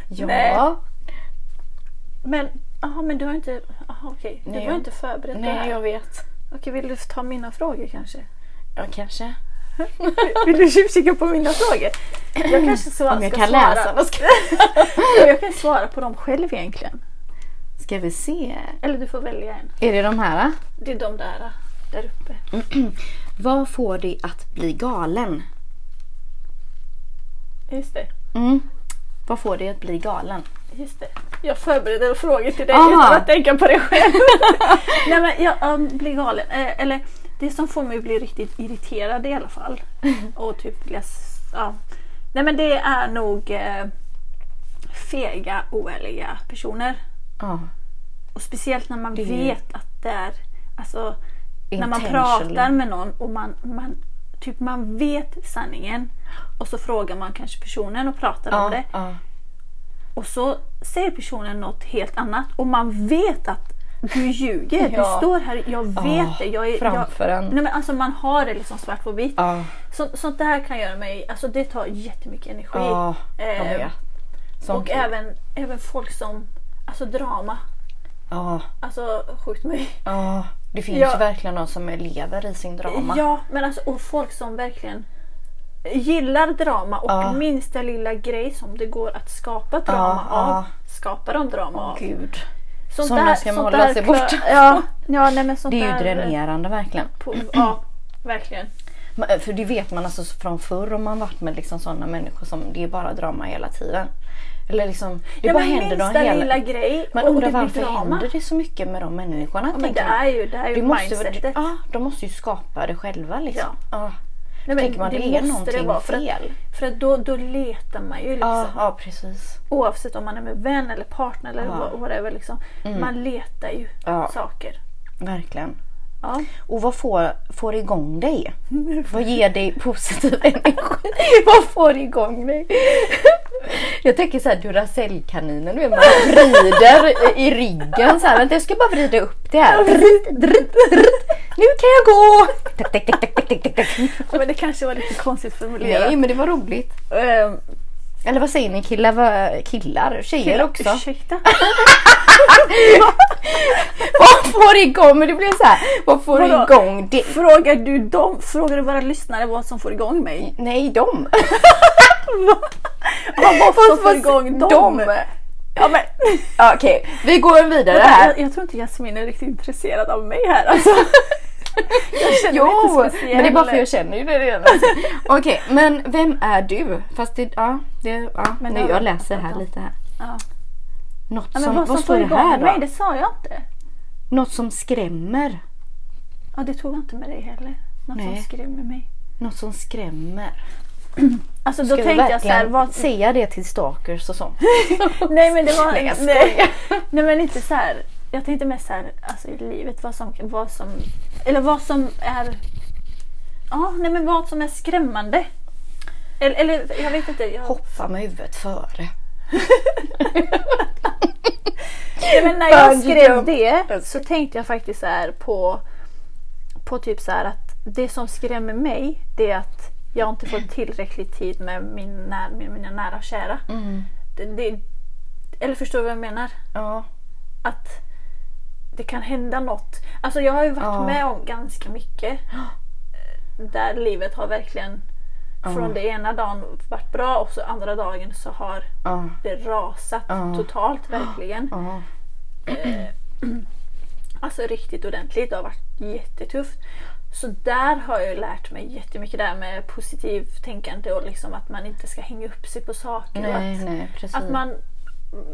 Speaker 1: Ja.
Speaker 2: Nej. Men, aha, men du har inte, aha, okej.
Speaker 1: Nej,
Speaker 2: du
Speaker 1: jag-
Speaker 2: har inte förberett det här.
Speaker 1: Nej, jag vet.
Speaker 2: Okej, vill du ta mina frågor kanske?
Speaker 1: Ja, kanske.
Speaker 2: Vill du tjuvkika på mina frågor? Mm. Jag kanske svar,
Speaker 1: Om jag
Speaker 2: ska
Speaker 1: kan
Speaker 2: svara.
Speaker 1: läsa. Vad ska...
Speaker 2: jag kan svara på dem själv egentligen.
Speaker 1: ska vi se.
Speaker 2: Eller du får välja en.
Speaker 1: Är det de här? Då?
Speaker 2: Det är de där, där uppe.
Speaker 1: Vad får dig att bli galen?
Speaker 2: Just det.
Speaker 1: Mm. Vad får dig att bli galen?
Speaker 2: Just det. Jag förbereder frågor till dig
Speaker 1: Aha.
Speaker 2: utan att tänka på det själv. Nej men jag um, blir galen. Eh, eller det som får mig att bli riktigt irriterad i alla fall. Och typ vilja... s- Ja. Nej men det är nog eh, fega, oärliga personer.
Speaker 1: Ja.
Speaker 2: Och speciellt när man
Speaker 1: Det är ju-
Speaker 2: vet att det är... Alltså när man pratar med någon och man, man, typ man vet sanningen. Och så frågar man kanske personen och pratar om det.
Speaker 1: ja, ja.
Speaker 2: Och så säger personen något helt annat och man vet att du ljuger.
Speaker 1: Ja.
Speaker 2: Du står här, jag vet
Speaker 1: Ah,
Speaker 2: det. Jag är,
Speaker 1: framför
Speaker 2: jag,
Speaker 1: en.
Speaker 2: Nej, men alltså man har det liksom svart på vitt.
Speaker 1: Ja.
Speaker 2: Så, sånt där kan göra mig, alltså det tar jättemycket energi.
Speaker 1: Ja, jag
Speaker 2: Eh,
Speaker 1: vet. Sånt.
Speaker 2: och även, även folk som, alltså drama.
Speaker 1: Ja,
Speaker 2: Alltså skjut mig.
Speaker 1: ja. Det finns
Speaker 2: Ja.
Speaker 1: ju verkligen någon som lever i sin drama.
Speaker 2: Ja, men alltså och folk som verkligen gillar drama och
Speaker 1: Ja.
Speaker 2: minsta lilla grej som det går att skapa
Speaker 1: Ja,
Speaker 2: drama av
Speaker 1: ja.
Speaker 2: skapar de drama av.
Speaker 1: Gud.
Speaker 2: Sånt
Speaker 1: Sådana ska man hålla sig
Speaker 2: klö-
Speaker 1: borta
Speaker 2: Ja, ja nej men sånt
Speaker 1: Det är ju
Speaker 2: där-
Speaker 1: dränerande verkligen.
Speaker 2: På, ja, verkligen.
Speaker 1: Men, För det vet man alltså från förr om man varit med liksom sådana människor som det är bara drama hela tiden. Eller liksom, det
Speaker 2: ja,
Speaker 1: bara
Speaker 2: men
Speaker 1: händer någon
Speaker 2: minsta
Speaker 1: hela...
Speaker 2: lilla grej
Speaker 1: Men
Speaker 2: om det
Speaker 1: undrar
Speaker 2: blir
Speaker 1: varför
Speaker 2: drama.
Speaker 1: händer det så mycket med de människorna?
Speaker 2: Ja, men det
Speaker 1: tänker man.
Speaker 2: är ju, det är ju
Speaker 1: Det måste ju vara-
Speaker 2: mindsetet.
Speaker 1: ja, de måste ju skapa det själva liksom. Ja.
Speaker 2: Nej, men
Speaker 1: tänker man, det är
Speaker 2: måste
Speaker 1: någonting
Speaker 2: vara, för
Speaker 1: fel.
Speaker 2: Att, för att då, då letar man ju liksom.
Speaker 1: Ja, ja, precis.
Speaker 2: Oavsett om man är med vän eller partner eller
Speaker 1: Ja. Mm.
Speaker 2: ja. whatever. Liksom, Man letar ju
Speaker 1: Ja.
Speaker 2: saker.
Speaker 1: Verkligen.
Speaker 2: Ja.
Speaker 1: Och vad får, får igång dig? Vad ger dig positiv energi? vad får igång dig? jag tänker såhär Duracellkaninen, du vet, man vrider i- i ryggen såhär. Vänta jag ska bara vrida upp det här. Dritt, dritt, dritt. Nu kan jag gå! Tack, tack, tack, tack, tack, tack, tack.
Speaker 2: Men det kanske var lite konstigt formulerat.
Speaker 1: Nej men det var roligt.
Speaker 2: Ehm,
Speaker 1: Eller vad säger ni killar? Vad- Killar? Tjejer också?
Speaker 2: Ursäkta.
Speaker 1: Vad får igång? Men det blev så här. Vad får
Speaker 2: Vadå?
Speaker 1: igång det?
Speaker 2: Frågar du dem, frågar du våra lyssnare vad som får igång mig?
Speaker 1: Nej, dem.
Speaker 2: Vad, vad som får
Speaker 1: vad-
Speaker 2: igång dem?
Speaker 1: dem?
Speaker 2: Ja, men,
Speaker 1: Ja, Okej, vi går vidare här.
Speaker 2: jag, jag tror inte Jasmin är riktigt intresserad av mig här alltså. Jag känner mig
Speaker 1: Jo,
Speaker 2: inte speciell.
Speaker 1: men det är bara för jag känner ju det redan. Okej, men vem är du? Fast det, ja, det, ja.
Speaker 2: Men
Speaker 1: nu
Speaker 2: det har
Speaker 1: jag
Speaker 2: vi
Speaker 1: läser här
Speaker 2: pratat om.
Speaker 1: lite här.
Speaker 2: Ja.
Speaker 1: Något
Speaker 2: Ja, men
Speaker 1: som,
Speaker 2: vad
Speaker 1: vad,
Speaker 2: som
Speaker 1: står
Speaker 2: får
Speaker 1: det
Speaker 2: igång
Speaker 1: här då?
Speaker 2: mig, det sa jag inte.
Speaker 1: Något som skrämmer.
Speaker 2: Ja, det tog jag inte med dig heller. Något som
Speaker 1: Nej.
Speaker 2: skrämmer mig.
Speaker 1: Något som skrämmer.
Speaker 2: Alltså då
Speaker 1: Ska vi
Speaker 2: tänkte jag så här,
Speaker 1: verkligen
Speaker 2: vad,
Speaker 1: säga det till stalkers och sånt?
Speaker 2: Nej men det var...
Speaker 1: Nej, jag
Speaker 2: nej, nej men inte så här. Jag tänkte mest så här, alltså i livet vad som, vad som... Eller vad som är... Ja, nej men vad som är skrämmande. Eller, eller jag vet inte. Jag,
Speaker 1: Hoppa med huvudet före.
Speaker 2: nej, men när jag
Speaker 1: Bungee
Speaker 2: skrev
Speaker 1: jump.
Speaker 2: det så tänkte jag faktiskt så här på... På typ så här att det som skrämmer mig det är att jag inte får tillräcklig tid med, min när, med mina nära och kära.
Speaker 1: Mm.
Speaker 2: Det, det, eller förstår du vad jag menar?
Speaker 1: Ja.
Speaker 2: att det kan hända något. Alltså jag har ju varit
Speaker 1: Ja.
Speaker 2: med om ganska mycket. Eh, Där livet har verkligen från det ena dagen varit bra och så andra dagen så har
Speaker 1: ja.
Speaker 2: det rasat
Speaker 1: Ja.
Speaker 2: totalt verkligen.
Speaker 1: ja.
Speaker 2: Alltså riktigt ordentligt. Det har varit jättetufft. Så där har jag ju lärt mig jättemycket där med positivt tänkande och liksom att man inte ska hänga upp sig på saker. och
Speaker 1: Nej,
Speaker 2: att,
Speaker 1: nej, precis.
Speaker 2: att man,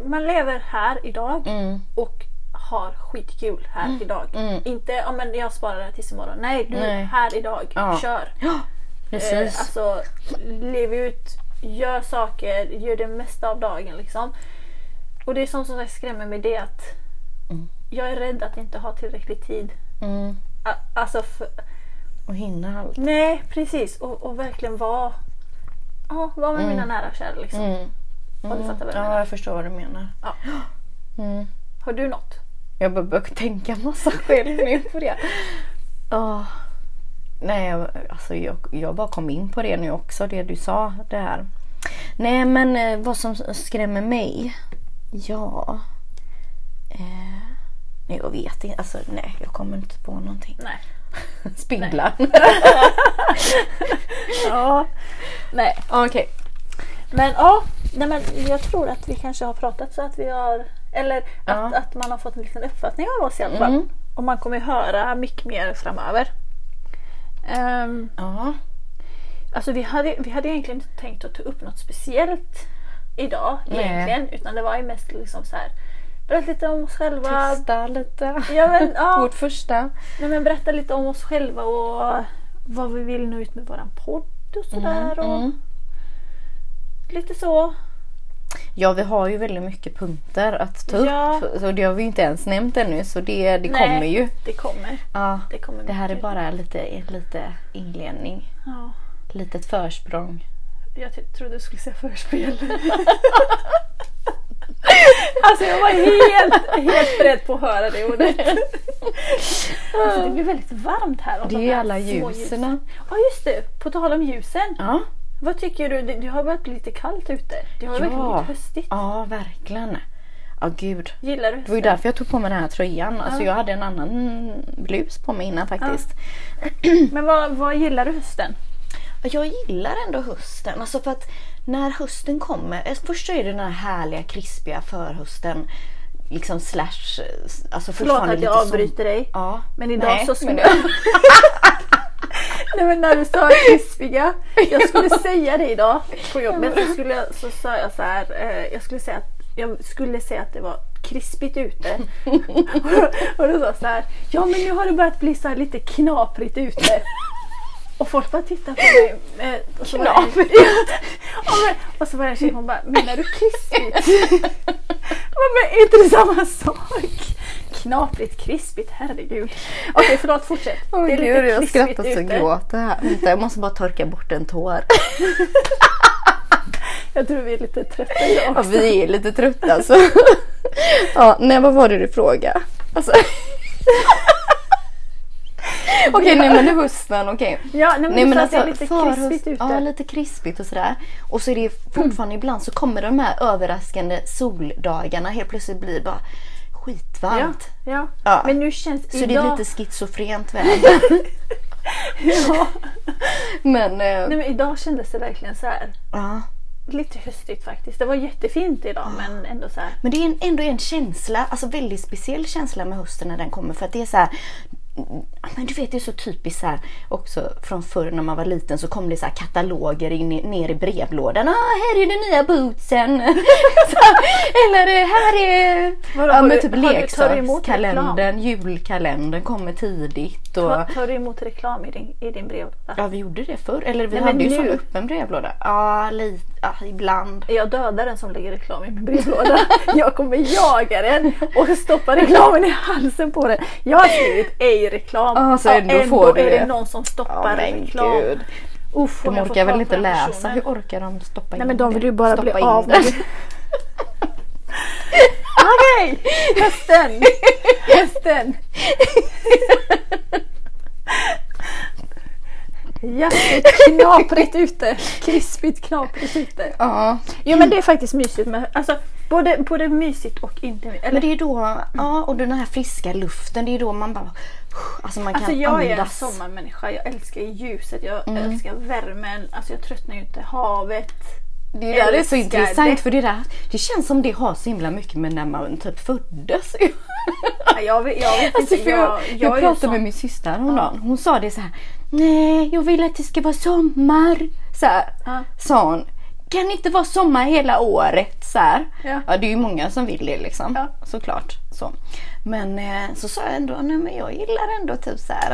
Speaker 2: man lever här idag
Speaker 1: Mm.
Speaker 2: och har skitkul här idag.
Speaker 1: mm.
Speaker 2: Inte ja, men jag sparar det här tills imorgon. Nej, du
Speaker 1: Nej.
Speaker 2: är här idag.
Speaker 1: Ja.
Speaker 2: Kör!
Speaker 1: Precis.
Speaker 2: Eh, alltså, lev ut, gör saker, gör det mesta av dagen liksom. Och det är sånt som skrämmer mig det att
Speaker 1: Mm.
Speaker 2: jag är rädd att inte ha tillräcklig tid.
Speaker 1: mm.
Speaker 2: A- Alltså, för,
Speaker 1: Och hinna allt.
Speaker 2: nej precis. Och, och verkligen vara ja, vara med mina nära och kära liksom.
Speaker 1: Mm.
Speaker 2: Ja, du fattar vad jag
Speaker 1: Ja,
Speaker 2: menar.
Speaker 1: jag förstår vad du menar.
Speaker 2: Ja.
Speaker 1: Mm.
Speaker 2: Har du något?
Speaker 1: Jag bör- börjar tänka massa själv nu på det. Ja. Nej, jag- alltså jag, jag bara kom in på det nu också, det du sa. Det här. Nej, men eh, vad som skrämmer mig? Ja. Eh, nej, jag vet inte. Alltså, nej, jag kommer inte på någonting.
Speaker 2: Nej.
Speaker 1: Spindlar.
Speaker 2: Ja. nej.
Speaker 1: Okej.
Speaker 2: Men ja, nej, men jag tror att vi kanske har pratat så att vi har eller
Speaker 1: Ja.
Speaker 2: att, att man har fått en liten uppfattning av oss i alla fall.
Speaker 1: Mm.
Speaker 2: Och man kommer ju höra mycket mer framöver. Ehm,
Speaker 1: Ja.
Speaker 2: alltså vi hade, vi hade egentligen inte tänkt att ta upp något speciellt idag
Speaker 1: Nej.
Speaker 2: egentligen. Utan det var ju mest liksom så här berätta lite om oss själva.
Speaker 1: Testa lite.
Speaker 2: Ja, men, ja.
Speaker 1: Vårt första.
Speaker 2: Nej, men berätta lite om oss själva och vad vi vill nå ut med våran podd och sådär. och
Speaker 1: Mm.
Speaker 2: Lite så.
Speaker 1: Ja, vi har ju väldigt mycket punkter att ta
Speaker 2: Ja.
Speaker 1: upp. Så det har vi ju inte ens nämnt ännu, så det, det
Speaker 2: Nej.
Speaker 1: kommer ju.
Speaker 2: Det kommer.
Speaker 1: Ja.
Speaker 2: Det, kommer
Speaker 1: Det här är
Speaker 2: mycket.
Speaker 1: bara lite, lite inledning.
Speaker 2: Ja.
Speaker 1: Litet försprång.
Speaker 2: Jag ty- trodde du skulle säga förspel. alltså jag var helt, helt beredd på att höra det ordet. Alltså, det blir väldigt varmt här. av
Speaker 1: Det är
Speaker 2: de
Speaker 1: ju
Speaker 2: här
Speaker 1: alla
Speaker 2: små ljusen.
Speaker 1: ljusen.
Speaker 2: Ja just det, på tal om ljusen.
Speaker 1: Ja.
Speaker 2: Vad tycker du? Det, det har börjat bli lite kallt ute. Det har verkligen
Speaker 1: Ja.
Speaker 2: blivit höstigt.
Speaker 1: ja, verkligen. Ja, gud.
Speaker 2: Gillar du
Speaker 1: Det var ju
Speaker 2: hösten?
Speaker 1: därför jag tog på mig den här tröjan. Alltså,
Speaker 2: Ja.
Speaker 1: jag hade en annan blus på mig innan faktiskt.
Speaker 2: Men vad, vad gillar du hösten?
Speaker 1: Jag gillar ändå hösten. Alltså för att när hösten kommer. eh, Först så är det den här härliga krispiga förhösten. Liksom slash... eh, Alltså
Speaker 2: Förlåt
Speaker 1: fortfarande
Speaker 2: att
Speaker 1: lite
Speaker 2: jag
Speaker 1: som-
Speaker 2: avbryter dig.
Speaker 1: Ja.
Speaker 2: Men idag
Speaker 1: Nej,
Speaker 2: så skulle
Speaker 1: men-
Speaker 2: jag... Nej men när du sa krispiga, jag skulle säga det idag på jobbet så, skulle jag, så sa jag så här, eh, jag skulle säga att jag skulle säga att det var krispigt ute. och då sa jag så här, ja men nu har det börjat bli så här lite knaprigt ute. Och folk bara tittar på mig. eh, Och så var det-
Speaker 1: Knaprigt?
Speaker 2: ja, men, och så var det en tjej, hon bara, menar du krispigt? Jag bara, men är inte det samma sak? Knaprigt, krispigt, herregud. Okej förlåt, fortsätt.
Speaker 1: Åh,
Speaker 2: det är
Speaker 1: gud,
Speaker 2: lite
Speaker 1: jag
Speaker 2: krispigt
Speaker 1: skrattar så
Speaker 2: ute.
Speaker 1: gråter här. Vänta, jag måste bara torka bort en tår.
Speaker 2: Jag tror vi är lite trötta idag.
Speaker 1: Ja, vi är lite trötta alltså. ja, nej vad var det du frågade? Alltså. okej, nej men det är hösten, okej.
Speaker 2: Ja, nej, men,
Speaker 1: Nej
Speaker 2: du
Speaker 1: men
Speaker 2: sa
Speaker 1: alltså,
Speaker 2: att det är lite
Speaker 1: förhöst-
Speaker 2: krispigt ute. Mm.
Speaker 1: Ja, lite krispigt och sådär. Och så är det fortfarande ibland så kommer de här överraskande soldagarna. Helt plötsligt blir det bara
Speaker 2: ja,
Speaker 1: skitvarmt.
Speaker 2: ja.
Speaker 1: Ja.
Speaker 2: men nu känns
Speaker 1: Så det
Speaker 2: idag...
Speaker 1: är lite schizofrent väder.
Speaker 2: ja.
Speaker 1: men, eh,
Speaker 2: nej, men idag kändes det verkligen så här.
Speaker 1: ja.
Speaker 2: Lite höstigt faktiskt. Det var jättefint idag men ändå så här.
Speaker 1: Men det är en, ändå en känsla, alltså väldigt speciell känsla med hösten när den kommer för att det är så här ja, men du vet det är så typiskt så här också från förr när man var liten så kom det så här kataloger in, i- ner i brevlådan. Ah, här är den nya bootsen! så, eller eh, här är
Speaker 2: Vadå,
Speaker 1: ja,
Speaker 2: har
Speaker 1: men
Speaker 2: du-
Speaker 1: typ
Speaker 2: har du- tar du emot
Speaker 1: leksakskalendern, julkalendern kommer tidigt. Och,
Speaker 2: Tar, tar du emot reklam i din, i din brevlåda?
Speaker 1: ja vi gjorde det förr, eller vi
Speaker 2: Nej, men
Speaker 1: hade ju sån
Speaker 2: nu-
Speaker 1: öppen brevlåda. Ja, lite, ja, ibland.
Speaker 2: Jag dödar den som lägger reklam i min brevlåda. Jag kommer jaga den och stoppa reklamen i halsen på den. Jag har skrivit ej reklam.
Speaker 1: Ah, så
Speaker 2: Ja,
Speaker 1: ändå får du
Speaker 2: är det
Speaker 1: det.
Speaker 2: någon som
Speaker 1: Ja,
Speaker 2: stoppar
Speaker 1: men
Speaker 2: reklam.
Speaker 1: gud.
Speaker 2: Uff, om
Speaker 1: De
Speaker 2: jag får
Speaker 1: orkar väl
Speaker 2: prata
Speaker 1: inte
Speaker 2: med
Speaker 1: läsa?
Speaker 2: personen.
Speaker 1: Hur orkar de stoppa
Speaker 2: Nej
Speaker 1: in
Speaker 2: men de
Speaker 1: det?
Speaker 2: vill ju bara
Speaker 1: stoppa
Speaker 2: bli
Speaker 1: in
Speaker 2: av
Speaker 1: det.
Speaker 2: med Okej! Hästen! Hästen! Ja, det är knaprigt ute. Krispigt knaprigt ute.
Speaker 1: Ja,
Speaker 2: Jo men det är faktiskt mysigt med alltså, både, både mysigt och inte mysigt.
Speaker 1: men
Speaker 2: Eller,
Speaker 1: det är då, ja och den här friska luften, det är då man bara Alltså man kan
Speaker 2: alltså jag är en
Speaker 1: andas. Mm.
Speaker 2: sommarmänniska. Jag älskar ljuset, jag älskar värmen. Alltså jag tröttnar ju inte. Havet.
Speaker 1: Det är, där det är så
Speaker 2: Älskar
Speaker 1: intressant
Speaker 2: det.
Speaker 1: för det där, det känns som det har så himla mycket med när man typ föddes.
Speaker 2: Nej, Jag vet, jag vet
Speaker 1: Alltså,
Speaker 2: inte.
Speaker 1: för jag,
Speaker 2: Jag,
Speaker 1: jag
Speaker 2: jag, är ju
Speaker 1: pratade med
Speaker 2: sån.
Speaker 1: min syster häromdagen. Hon sa det så här. Nej, jag vill att det ska vara sommar. Så här,
Speaker 2: Ja.
Speaker 1: sa hon. Kan det inte vara sommar hela året? Så här.
Speaker 2: Ja.
Speaker 1: det är ju många som vill det liksom.
Speaker 2: Ja.
Speaker 1: Såklart. Så. Men eh, så sa jag ändå, nej men jag gillar ändå typ så här.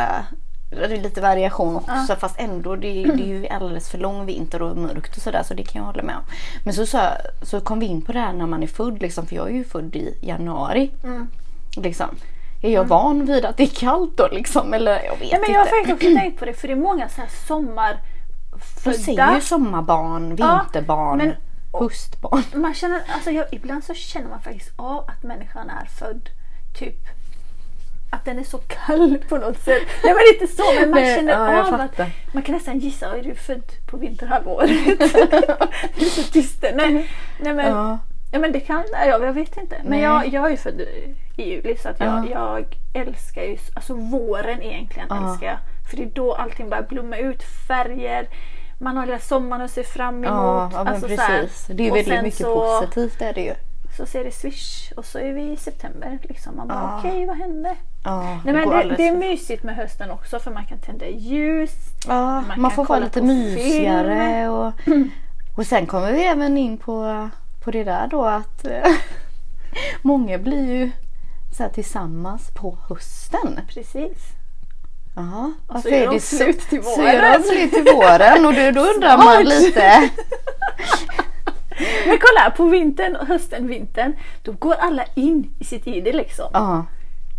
Speaker 1: eh, Det är lite variation också fast ändå det, det är ju alldeles för lång vinter och mörkt och sådär så det kan jag hålla med om. Men så, sa, jag- så kom vi in på det här när man är född liksom för jag är ju född i januari.
Speaker 2: Mm.
Speaker 1: Liksom. Är jag van vid att det är kallt då liksom? Eller jag vet
Speaker 2: Nej, men jag har
Speaker 1: inte.
Speaker 2: faktiskt också tänkt på det för det är många så här
Speaker 1: De säger
Speaker 2: sommarfödda.
Speaker 1: ju sommarbarn, vinterbarn,
Speaker 2: men-
Speaker 1: höstbarn.
Speaker 2: Man känner, alltså jag, ibland så känner man faktiskt av att människan är född typ att den är så kall på något sätt. Nej men inte så men man
Speaker 1: Nej,
Speaker 2: känner
Speaker 1: ja, jag
Speaker 2: av
Speaker 1: fattar.
Speaker 2: att man kan nästan gissa, är du född på vinterhalvåret? du är så tyst. Nej, nej men
Speaker 1: Ja.
Speaker 2: Ja men det kan ja, jag vet inte. Men
Speaker 1: Nej.
Speaker 2: jag, jag är född i juli så att jag,
Speaker 1: Ja.
Speaker 2: jag älskar ju, alltså våren egentligen
Speaker 1: Ja.
Speaker 2: älskar jag. För det är då allting börjar blomma ut, färger, man har hela sommaren att se fram emot.
Speaker 1: Ja, ja men
Speaker 2: alltså så här.
Speaker 1: precis. Det är ju
Speaker 2: Och
Speaker 1: väldigt
Speaker 2: sen
Speaker 1: mycket
Speaker 2: så,
Speaker 1: positivt är det ju.
Speaker 2: Så ser det swish och så är vi i september liksom. Man bara
Speaker 1: Ja.
Speaker 2: okej vad hände?
Speaker 1: Ja,
Speaker 2: Nej, men
Speaker 1: går
Speaker 2: det,
Speaker 1: alldeles
Speaker 2: det är
Speaker 1: för-
Speaker 2: mysigt med hösten också för man kan tända ljus.
Speaker 1: ja, man,
Speaker 2: man kan
Speaker 1: får vara
Speaker 2: kolla
Speaker 1: lite
Speaker 2: på
Speaker 1: mysigare och, och sen kommer vi även in på, på det där då att eh, många blir ju så här tillsammans på hösten.
Speaker 2: Precis.
Speaker 1: Ja,
Speaker 2: Och så
Speaker 1: varför
Speaker 2: gör
Speaker 1: är
Speaker 2: de
Speaker 1: det
Speaker 2: slut till
Speaker 1: Så gör de
Speaker 2: våren.
Speaker 1: slut till våren och då, då undrar man
Speaker 2: Smart.
Speaker 1: lite.
Speaker 2: Men kolla på vintern, och hösten, vintern. Då går alla in i sitt ide liksom.
Speaker 1: Ja,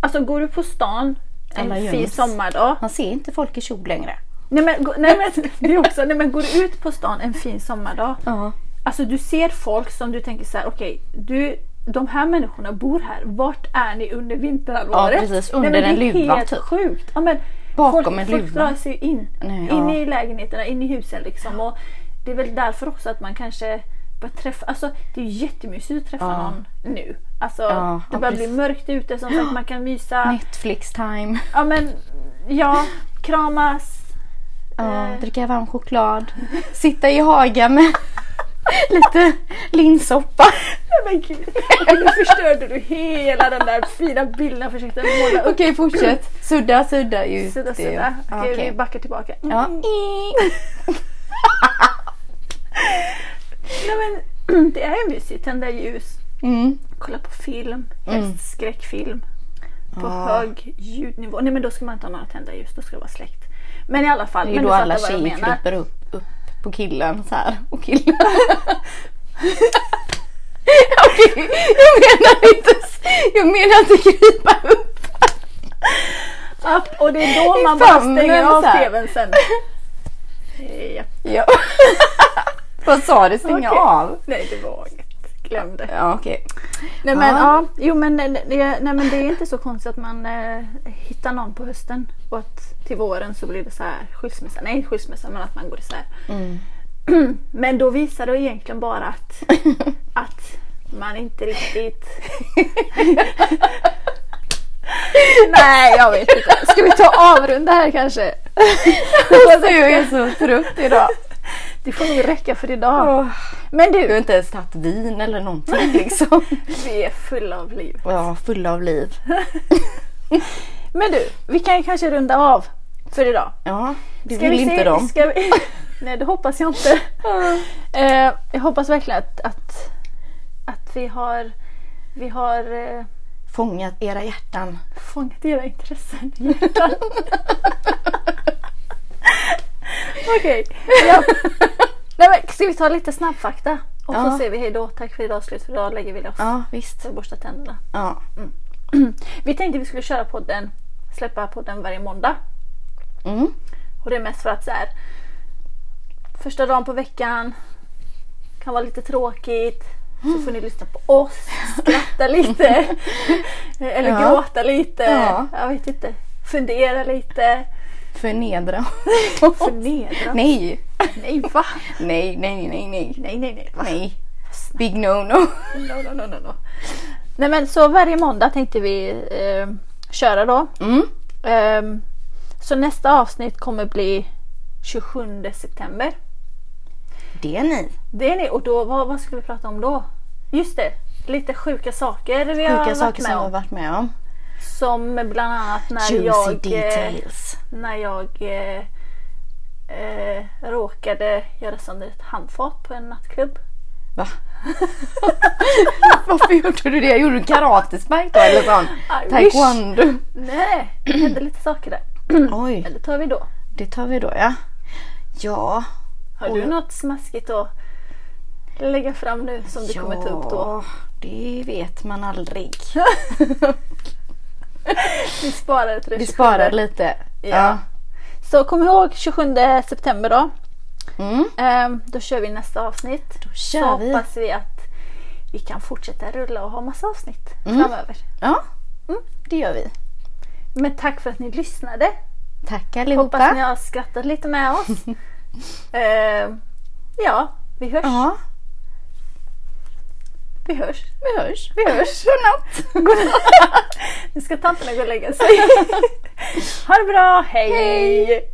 Speaker 2: Alltså går du på stan
Speaker 1: Alla
Speaker 2: en fin
Speaker 1: göms.
Speaker 2: sommardag.
Speaker 1: man ser inte folk i kjol längre.
Speaker 2: Nej men, gå- nej, men, det är också, nej men går du ut på stan en fin sommardag.
Speaker 1: Ja,
Speaker 2: Alltså du ser folk som du tänker så här: okej, du, de här människorna bor här. Vart är ni under vinterhalvåret?
Speaker 1: Ja, precis.
Speaker 2: Nej, men
Speaker 1: Under en
Speaker 2: det är
Speaker 1: luva,
Speaker 2: helt
Speaker 1: typ.
Speaker 2: sjukt. Ja, men,
Speaker 1: Bakom
Speaker 2: folk,
Speaker 1: en
Speaker 2: Folk
Speaker 1: luva.
Speaker 2: drar sig ju in.
Speaker 1: Nej,
Speaker 2: in
Speaker 1: ja.
Speaker 2: i lägenheterna, in i husen liksom. Och det är väl därför också att man kanske börjar träffa, alltså det är ju jättemysigt att träffa
Speaker 1: Ja.
Speaker 2: någon nu. Alltså
Speaker 1: Ja,
Speaker 2: det
Speaker 1: ja,
Speaker 2: börjar bli
Speaker 1: precis.
Speaker 2: mörkt ute som sagt, man kan mysa.
Speaker 1: Netflix time.
Speaker 2: Ja men ja, kramas.
Speaker 1: Ja,
Speaker 2: Eh.
Speaker 1: dricka varm choklad. Sitta i hagen med lite linssoppa.
Speaker 2: Men gud, okej, nu förstörde du hela den där fina bilden jag försökte måla upp.
Speaker 1: Okej, fortsätt. Sudda, sudda ut.
Speaker 2: Sudda,
Speaker 1: det.
Speaker 2: sudda. Okej,
Speaker 1: Okej.
Speaker 2: vi backar tillbaka. Mm.
Speaker 1: Ja.
Speaker 2: Nej, men, det är ju mysigt, tända ljus,
Speaker 1: Mm.
Speaker 2: kolla på film, helst skräckfilm. På
Speaker 1: Ja.
Speaker 2: hög ljudnivå. Nej men då ska man inte ha några tända ljus, då ska det vara släckt. Men i alla fall,
Speaker 1: Det är ju
Speaker 2: men
Speaker 1: då
Speaker 2: du fattar
Speaker 1: alla
Speaker 2: vad jag
Speaker 1: tjejer
Speaker 2: menar.
Speaker 1: kryper upp, upp på killen så här. Och killen. Okej, jag menar inte s- Jag menar inte krypa upp.
Speaker 2: Upp, och det är då
Speaker 1: I
Speaker 2: man bara
Speaker 1: famnen
Speaker 2: stänger av
Speaker 1: så här.
Speaker 2: tvn sen. Japp.
Speaker 1: Ja. Vad sa du? Stänga
Speaker 2: Okej.
Speaker 1: av?
Speaker 2: Nej det var inget. Glöm det.
Speaker 1: Ja, okej.
Speaker 2: Nej men,
Speaker 1: Ja.
Speaker 2: ja. Jo, men, eh, det, nej, men det är inte så konstigt att man eh, hittar någon på hösten och att till våren så blir det så här skilsmässa. Nej skilsmässa men att man går isär. men då visar det egentligen bara att, att man inte riktigt... nej jag vet inte. Ska vi ta avrunda här kanske?
Speaker 1: Alltså, jag är så trött idag.
Speaker 2: Det får nog räcka för idag.
Speaker 1: Åh.
Speaker 2: Men
Speaker 1: Jag har
Speaker 2: du,
Speaker 1: inte ens tagit vin eller någonting liksom.
Speaker 2: vi är fulla av liv.
Speaker 1: Ja, fulla av liv.
Speaker 2: Men du, vi kan ju kanske runda av för idag.
Speaker 1: Ja, det
Speaker 2: Ska
Speaker 1: vill
Speaker 2: vi
Speaker 1: inte
Speaker 2: se-
Speaker 1: de.
Speaker 2: Ska vi... Nej, det hoppas jag inte. Eh, jag hoppas verkligen att, att, att vi har, vi har eh,
Speaker 1: Fångat era hjärtan.
Speaker 2: fångat era intressen i hjärtat. Okej, ja. Nej, men Ska vi ta lite snabbfakta? Och
Speaker 1: Ja.
Speaker 2: så säger vi hej då. Tack för idag. Slut för idag. Lägger vi loss.
Speaker 1: Ja, visst.
Speaker 2: Så borsta tänderna.
Speaker 1: Ja.
Speaker 2: Vi tänkte vi skulle köra podden, släppa podden varje måndag.
Speaker 1: Mm.
Speaker 2: Och det är mest för att så här, första dagen på veckan kan vara lite tråkigt. Så får ni lyssna på oss, skratta lite. Eller
Speaker 1: Ja.
Speaker 2: gråta lite.
Speaker 1: Ja.
Speaker 2: Jag vet inte. Fundera lite.
Speaker 1: Förnedra.
Speaker 2: Förnedra.
Speaker 1: nej.
Speaker 2: nej va?
Speaker 1: Nej, nej, nej, nej.
Speaker 2: Nej, nej, nej. Va?
Speaker 1: Nej. Big no no.
Speaker 2: No, no, no, no, no. Nej men så varje måndag tänkte vi eh, köra då.
Speaker 1: Mm.
Speaker 2: Ehm, så nästa avsnitt kommer bli 27 september.
Speaker 1: Det är ni.
Speaker 2: Det är ni. Och då, vad, vad skulle vi prata om då? Just det, lite sjuka saker vi har
Speaker 1: Sjuka
Speaker 2: varit
Speaker 1: saker
Speaker 2: med
Speaker 1: som vi har
Speaker 2: om.
Speaker 1: varit med om.
Speaker 2: Som bland annat när
Speaker 1: Juicy
Speaker 2: jag, eh,
Speaker 1: details.
Speaker 2: när jag eh, eh, råkade göra sönder ett handfat på en nattklubb.
Speaker 1: Va? Varför gjorde du det? Gjorde du karatespark då eller sån?
Speaker 2: I wish.
Speaker 1: Taekwondo?
Speaker 2: Nej, det hände lite saker där.
Speaker 1: Oj,
Speaker 2: Men det tar vi då.
Speaker 1: det tar vi då ja. Ja.
Speaker 2: Har
Speaker 1: Oj.
Speaker 2: du något smaskigt att lägga fram nu som du kommer ta upp då?
Speaker 1: Ja, det vet man aldrig.
Speaker 2: Vi sparar det till den
Speaker 1: Vi
Speaker 2: 27.
Speaker 1: sparar lite.
Speaker 2: Ja. Så kom ihåg 27 september då.
Speaker 1: Ja. Mm.
Speaker 2: Ehm, då kör vi nästa avsnitt. Då
Speaker 1: kör
Speaker 2: Så
Speaker 1: vi.
Speaker 2: hoppas vi att vi kan fortsätta rulla och ha massa avsnitt
Speaker 1: Mm.
Speaker 2: framöver.
Speaker 1: Ja, Mm, det gör vi.
Speaker 2: Men tack för att ni lyssnade.
Speaker 1: Tack
Speaker 2: Hoppas ni
Speaker 1: allihopa.
Speaker 2: har skrattat lite med oss. Ehm, ja, vi hörs.
Speaker 1: Ja,
Speaker 2: Vi hörs.
Speaker 1: vi hörs.
Speaker 2: Vi hörs.
Speaker 1: Godnatt.
Speaker 2: Nu ska tanterna gå och lägga sig. ha det bra. hej.
Speaker 1: Hej.